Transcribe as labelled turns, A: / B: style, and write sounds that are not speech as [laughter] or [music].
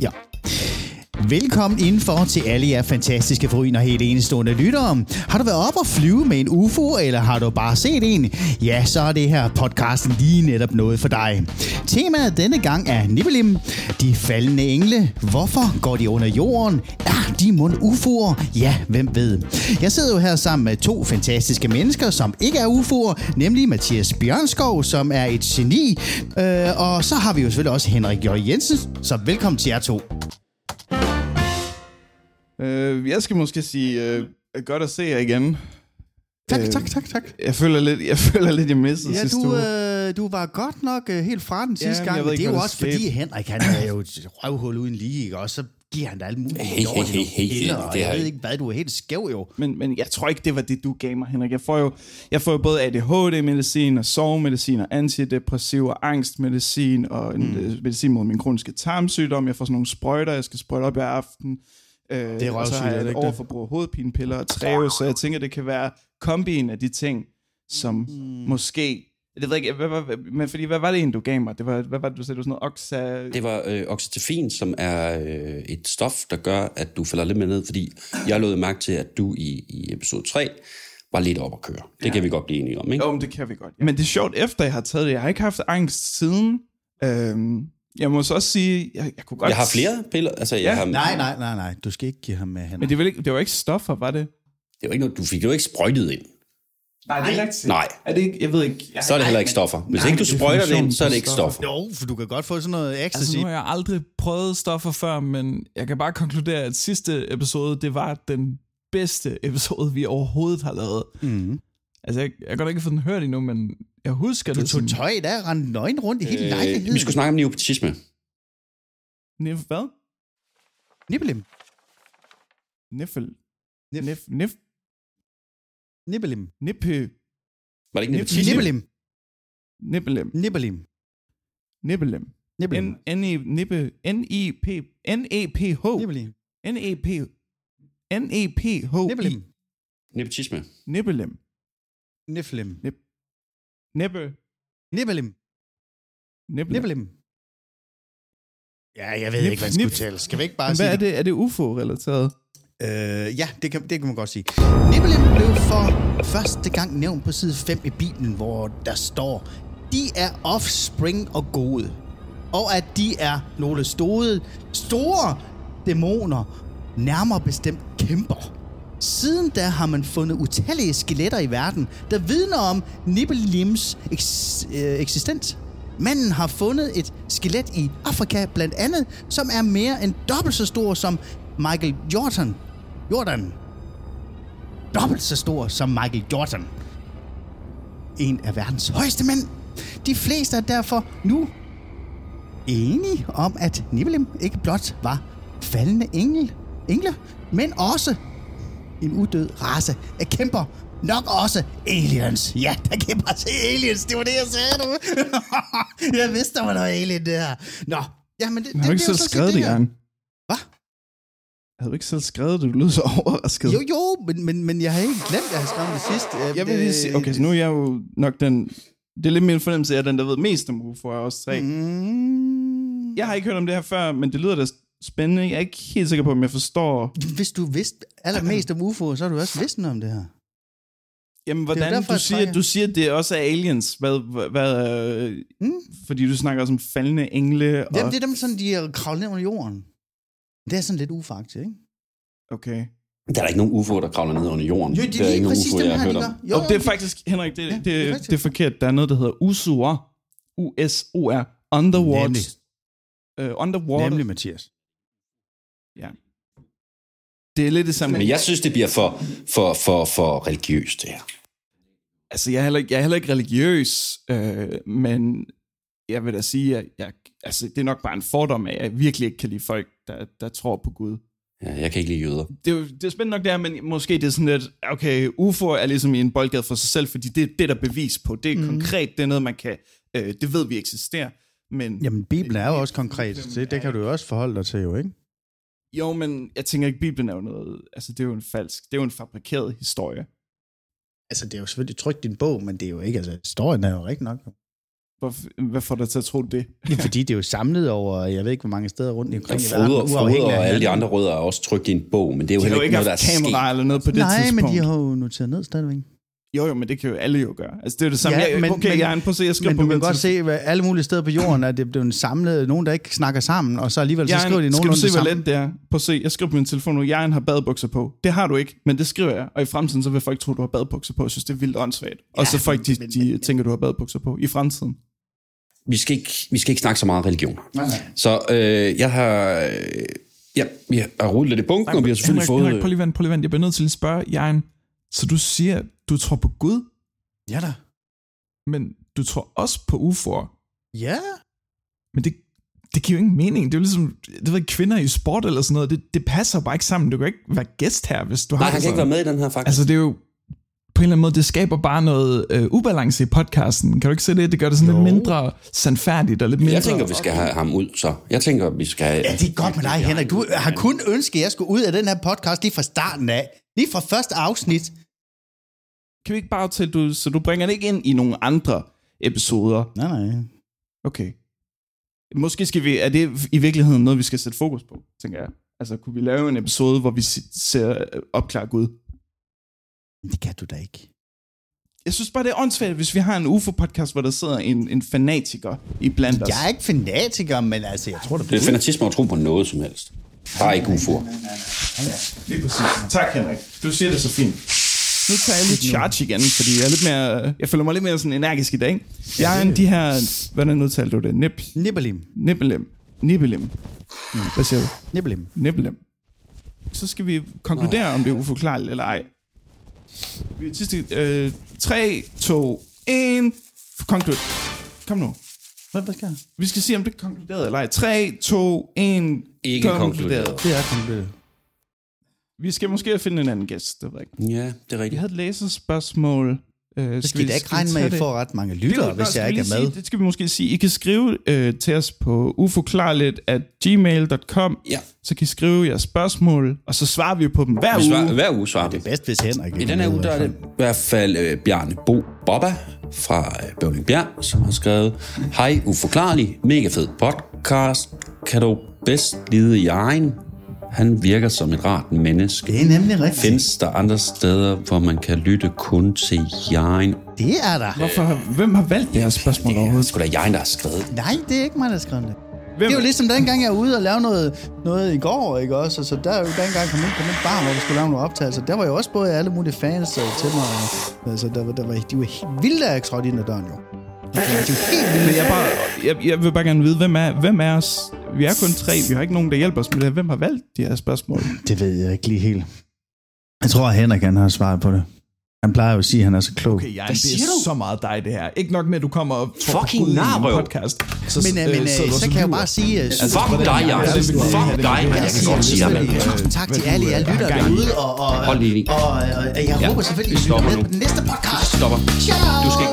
A: Ja. Velkommen indenfor til alle jer fantastiske forrygende og helt enestående lyttere. Har du været op og flyve med en UFO, eller har du bare set en? Ja, så er det her podcasten lige netop noget for dig. Temaet denne gang er Nibbelim. De faldende engle. Hvorfor går de under jorden? Er de mund UFO'er? Ja, hvem ved. Jeg sidder jo her sammen med to fantastiske mennesker, som ikke er UFO'er, nemlig Mathias Bjørnskov, som er et geni. Øh, og så har vi jo selvfølgelig også Henrik J. Jensen, så velkommen til jer to.
B: Øh, jeg skal måske sige, øh, godt at se jer igen.
A: Tak,
B: Øh,
A: tak, tak, tak.
B: Jeg føler lidt, jeg, [laughs] føler lidt, jeg missede
A: Ja,
B: sidste
A: du,
B: uge.
A: øh, du var godt nok øh, helt fra den sidste
B: men
A: gang,
B: jeg
A: men
B: ved
A: det
B: ikke,
A: er jo
B: hvad der
A: også
B: skete.
A: fordi, Henrik han er jo et røvhul uden lige, ikke? og så giver han dig alt muligt.
C: Hey, hey,
A: lort i
C: hey,
A: nogle
C: hey, hey,
A: piller,
C: det
A: og jeg
C: har
A: ved
C: jeg-
A: ikke hvad, du er helt skæv jo.
B: Men, men jeg tror ikke, det var det, du gav mig, Henrik. Jeg får jo, jeg får jo både ADHD-medicin og sovemedicin og antidepressiv og angstmedicin og en, mm. medicin mod min kroniske tarmsygdom. Jeg får sådan nogle sprøjter, jeg skal sprøjte op i aften. Øh, det
A: er
B: Og så
A: røvsygt,
B: har
A: er
B: jeg
A: det
B: et
A: ikke det?
B: overforbrug af hovedpinepiller og træve, så jeg tænker, det kan være kombinen af de ting, som mm. måske... Det ved jeg ikke, hvad, hvad, hvad, men fordi, hvad var det egentlig, du gav mig? Det var, hvad var det, du sagde? Det var sådan noget oxa...
C: Det var øh, oxytofin, som er øh, et stof, der gør, at du falder lidt mere ned, fordi jeg lod mærke til, at du i, i episode 3 var lidt op at køre. Det ja. kan vi godt blive enige om, ikke?
B: Jo, men det kan vi godt. Ja. Men det er sjovt, efter jeg har taget det. Jeg har ikke haft angst siden. Øhm, jeg må så også sige, jeg, jeg kunne godt...
C: Jeg har flere piller. Altså, jeg
B: Ja.
C: ja. har,
A: Nej, nej, nej, nej, du skal ikke give ham med
B: Men
A: Henrik.
B: det var ikke, det var ikke stoffer, var det?
C: Det var ikke noget, du fik det jo ikke sprøjtet ind.
B: Nej, det er rigtigt.
C: Nej.
B: Er det ikke, jeg ved ikke. Jeg,
C: Så er det heller ikke stoffer. Hvis nej, ikke du sprøjter det ind, så er det ikke stoffer.
A: Jo, for du kan godt få sådan noget ecstasy.
D: Altså, nu har jeg aldrig prøvet stoffer før, men jeg kan bare konkludere, at sidste episode, det var den bedste episode, vi overhovedet har lavet.
A: Mhm.
D: Altså, jeg, jeg har godt ikke fået den hørt endnu, men jeg husker
A: Du
D: det
A: tog tøj der og rendte nøgen rundt i hele
C: Øh, vi
A: lejligheden.
C: skulle snakke om neopatisme.
B: Nif, hvad?
A: Nibbelim.
B: Niffel.
A: Nif.
B: Nif, nif,
A: Nibbelim.
B: nippe,
C: Var det ikke
B: Nip-
C: neopatisme?
A: Nibbelim.
B: nippelem,
A: Nibbelim.
B: nippelem.
A: Nibbelim.
B: N- N-E, nippe, E N-E-P, N-E-P-H,
A: Nibbelim.
B: N-E-P, E N-E-P-H,
A: Nibbelim.
C: Nepotisme.
B: nippelem,
A: Niflim.
B: nippe,
A: Nibbelim.
B: nippelem.
A: Nibbelim. Ja, jeg ved
B: Nip-
A: ikke, hvad han skal
B: nip.
A: udtale. Skal vi ikke bare
B: Men Hvad
A: sige
B: er
A: det?
B: det? Er det UFO-relateret?
A: Øh, ja, det kan, det kan man godt sige. Nibelin blev for første gang nævnt på side 5 i Bibelen, hvor der står, de er offspring og gode, og at de er nogle store, store dæmoner, nærmere bestemt kæmper. Siden da har man fundet utallige skeletter i verden, der vidner om Nibelims eks- øh, eksistens. Manden har fundet et skelet i Afrika blandt andet, som er mere end dobbelt så stor som Michael Jordan. Jordan. Dobbelt så stor som Michael Jordan. En af verdens højeste mænd. De fleste er derfor nu enige om, at Nibelheim ikke blot var faldende engel, engle, men også en uddød race af kæmper. Nok også aliens. Ja, der kan jeg bare se aliens. Det var det, jeg sagde nu. [laughs] jeg vidste, der var noget alien der. Nå, ja, men det,
B: Har du ikke
A: bliver
B: selv
A: så set
B: skrevet det,
A: her.
B: Jørgen?
A: Hvad?
B: Havde du ikke selv skrevet det? Du lød så [laughs] overrasket.
A: Jo, jo, men, men, men jeg har ikke glemt, at jeg har skrevet det sidst. Øh,
B: Jeg vil lige sige, okay, så nu er jeg jo nok den... Det er lidt min fornemmelse, at jeg er den, der ved mest om UFO'er af os tre. Mm.
A: Mm,
B: Jeg har ikke hørt om det her før, men det lyder da spændende. Jeg er ikke helt sikker på, om jeg forstår,
A: Hvis du vidste allermest om UFO, så har du også vidst noget om det her.
B: jamen,
A: jo
B: hvordan
A: derfor,
B: du
A: jeg
B: siger,
A: trækker.
B: du siger, at det også er aliens. Hvad, hvad, øh,
A: Mm.
B: Fordi du snakker også om faldende engle. Og,
A: Jamen, det er dem sådan, de er kravlet ned under jorden. Det er sådan lidt ufaktisk, ikke?
B: Okay.
C: Der er da ikke nogen UFO, der kravler ned under jorden.
A: Jo, det er
C: der er
A: lige
C: ikke nogen
A: præcis
C: UFO,
A: dem
C: jeg har
A: her,
C: hørt
A: de
C: om.
A: gør. Jo,
B: Jo, og det
A: jo,
B: er faktisk, Henrik, det, ja, det,
A: det er
B: det,
A: rigtigt.
B: det er forkert. Der er noget, der hedder USOR. U-S-O-R. Underwater. Uh, underwater. Nemlig.
A: Mathias.
B: Ja. Det er lidt det samme.
C: Men jeg synes, det bliver for, for, for, for religiøst, det her.
B: Altså, jeg er heller ikke, jeg er heller ikke religiøs, øh, men jeg vil da sige, at jeg, altså, det er nok bare en fordom, at jeg virkelig ikke kan lide folk, der, der tror på Gud.
C: Ja, jeg kan ikke lide jøder.
B: Det er, jo- det er spændende nok det her, men måske det er sådan lidt, okay, UFO er ligesom i en boldgade for sig selv, fordi det er det, der er bevis på. Det er
A: Mhm.
B: mm. konkret, det er noget, man kan, øh, det ved vi eksisterer. Men Jamen.
A: Jamen, Bibelen er jo også konkret. Det, det kan du jo også forholde dig til, jo, ikke?
B: jo, men jeg tænker ikke, Bibelen er jo noget, altså det er jo en falsk, det er jo en fabrikeret historie.
A: Altså, det er jo selvfølgelig trygt i en bog, men det er jo ikke, altså, historien er jo rigtig nok.
B: Hvor, hvad får dig til at tro det?
A: Ja, fordi det er jo samlet over, jeg ved ikke, hvor mange steder rundt i
C: Ja,
A: omkring i verden,
C: Froder, Froder
A: uafhængigt af
C: og alle de
A: hinanden.
C: andre rødder er også trykt i en bog, men det er jo
B: De har
C: heller
B: jo
C: ikke
B: ikke
C: noget, der
B: haft
C: er sket.
B: kamera eller noget på det
A: Nej,
B: tidspunkt.
A: men de har jo noteret ned stadigvæk.
B: Jo, jo, men det kan jo alle jo gøre. Altså, det er jo det samme. Ja, men, okay, men, jeg er en på se, jeg skriver
A: men
B: på
A: du
B: min
A: kan godt
B: telefon.
A: se, hvad alle mulige steder på jorden, at det er blevet samlet, nogen, der ikke snakker sammen, og så alligevel så
B: Jern,
A: skriver de
B: skal du
A: nogenlunde
B: se,
A: det
B: hvor
A: samme.
B: let det er? Prøv at se, jeg skriver på min telefon nu, Jern har badebukser på. Det har du ikke, men det skriver jeg. Og i fremtiden, så vil folk tro, du har badebukser på. Jeg synes, det er vildt åndssvagt. Ja, og så folk, de, de tænker, du har badebukser på i fremtiden.
C: vi skal ikke, vi skal ikke snakke så meget religion. Så øh, jeg har... Øh, ja, vi har rullet lidt i bunken, og vi har selvfølgelig
D: Henrik,
C: fået...
D: Henrik, prøv lige vent, prøv lige vent. Jeg bliver nødt til at spørge, Jaren, så du siger, du tror på Gud,
A: Ja da.
D: men du tror også på UFO'er.
A: Ja.
D: Men det, det giver jo ingen mening. Det er jo ligesom, det ved jeg, kvinder i sport eller sådan noget. Det, det passer bare ikke sammen. Du kan ikke være gæst her, hvis du har
C: nej, han
D: det
C: kan ikke
D: sådan.
C: være med i den her, faktisk.
D: Altså, det er jo på en eller anden måde, det skaber bare noget øh, ubalance i podcasten. Kan du ikke se det? Det gør det sådan jo. lidt mindre sandfærdigt og lidt mindre...
C: jeg tænker, vi skal have ham ud, så. Jeg tænker, vi skal...
A: Ja, det er godt med dig, Henrik. Du har kun ønsket, at jeg skulle ud af den her podcast lige fra starten af. Lige fra første afsnit.
B: Kan vi ikke bare aftale, du, så du bringer det ikke ind i nogle andre episoder?
A: Nej, nej.
B: Okay. Måske skal vi... Er det i virkeligheden noget, vi skal sætte fokus på, tænker jeg? Altså, kunne vi lave en episode, hvor vi si- ser opklare Gud?
A: Det kan du da ikke.
B: Jeg synes bare, det er åndssvagt, hvis vi har en UFO-podcast, hvor der sidder en, en fanatiker i blandt os.
A: Jeg er ikke fanatiker, men altså, jeg tror, det
C: Det er
A: bliver...
C: fanatisme at tro på noget som helst. Bare ikke UFO'er.
B: Lige præcis. Tak, Henrik. Du siger det så fint. Nu tager jeg lidt charge igen, fordi jeg, er lidt mere, jeg føler mig lidt mere sådan energisk i dag. ikke? Jeg er en de her... Hvordan udtalte du det? Nip,
A: Nibbelim.
B: nibbelem. Nibbelem. Hvad siger du?
A: Nibbelim.
B: Nibbelem. Så skal vi konkludere, om det er uforklarligt eller ej. Vi er sidste... Øh, 3, 2, 1... Konklut. Kom nu.
A: Hvad, hvad skal jeg?
B: Vi skal se, om det er konkluderet eller ej. 3, 2, 1...
C: Ikke konkluderet.
A: Det er konkluderet.
B: Vi skal måske finde en anden gæst, det ved jeg ikke.
C: Ja, det er
B: Jeg
C: rigtigt.
B: havde et læserspørgsmål. Øh,
A: Det skal I da ikke regne med, at I får ret mange lyttere, hvis jeg ikke er med.
B: Sige, det skal vi måske sige. I kan skrive øh, til os på uforklarligt at gmail.com.
C: Ja.
B: Så kan I skrive jeres spørgsmål, og så svarer vi på dem hver
C: Vi svarer,
B: uge.
C: hver uge svarer vi.
A: Bedst, hvis Henrik
C: I
A: ikke
C: den her
A: med,
C: uge, der er
A: hvert
C: det i hvert fald øh, Bjarne Bo Bobba fra øh, Bøvling Bjerg, som har skrevet, Hej uforklarlig, mega fed podcast, kan du bedst lide i egen? Han virker som et rart menneske.
A: Det er nemlig rigtigt.
C: Findes der andre steder, hvor man kan lytte kun til jegen?
A: Det er der.
B: Hvorfor, hvem har valgt jeres spørgsmål
C: Det er
B: overhovedet?
C: sgu da jegen, der har skrevet.
A: Nej, det er ikke mig, der skrev det.
B: Hvem?
A: Det er jo ligesom dengang, jeg var ude og lave noget, noget i går, ikke også? Og så der er jo dengang kom ind på min bar, hvor vi skulle lave nogle optagelser. Der var jo også både alle mulige fans øh, til mig. og- Altså, der, var, der var, de var helt vilde, da jeg trådte ind ad døren, jo. Altså, De var helt vilde.
B: Men jeg, bare, jeg, jeg vil bare gerne vide, hvem er, hvem er os? Vi er kun tre, vi har ikke nogen, der hjælper os med det. her. Hvem har valgt de her spørgsmål?
A: Det ved jeg ikke lige helt. Jeg tror, at Henrik han har svaret på det. Han plejer jo at sige, at han er så klog.
D: Okay, Jan, det er så meget dig, det her. Ikke nok med, at du kommer og tror
C: Fucking
D: på Gud i en
C: narrøv.
D: podcast. Så,
A: Men, øh, men øh, så kan jeg jo bare sige... Øh,
C: Altså, fuck dig, Jens. Fuck dig, man. Jeg kan godt sige dig, man.
A: Tusind tak til alle jer lyttere derude, og, og, og,
C: Hold lige.
A: og, og jeg håber selvfølgelig, at I
C: stopper
A: lytter med
C: nu.
A: på den næste podcast.
C: Stopper.
A: Ciao!
C: Du skal ikke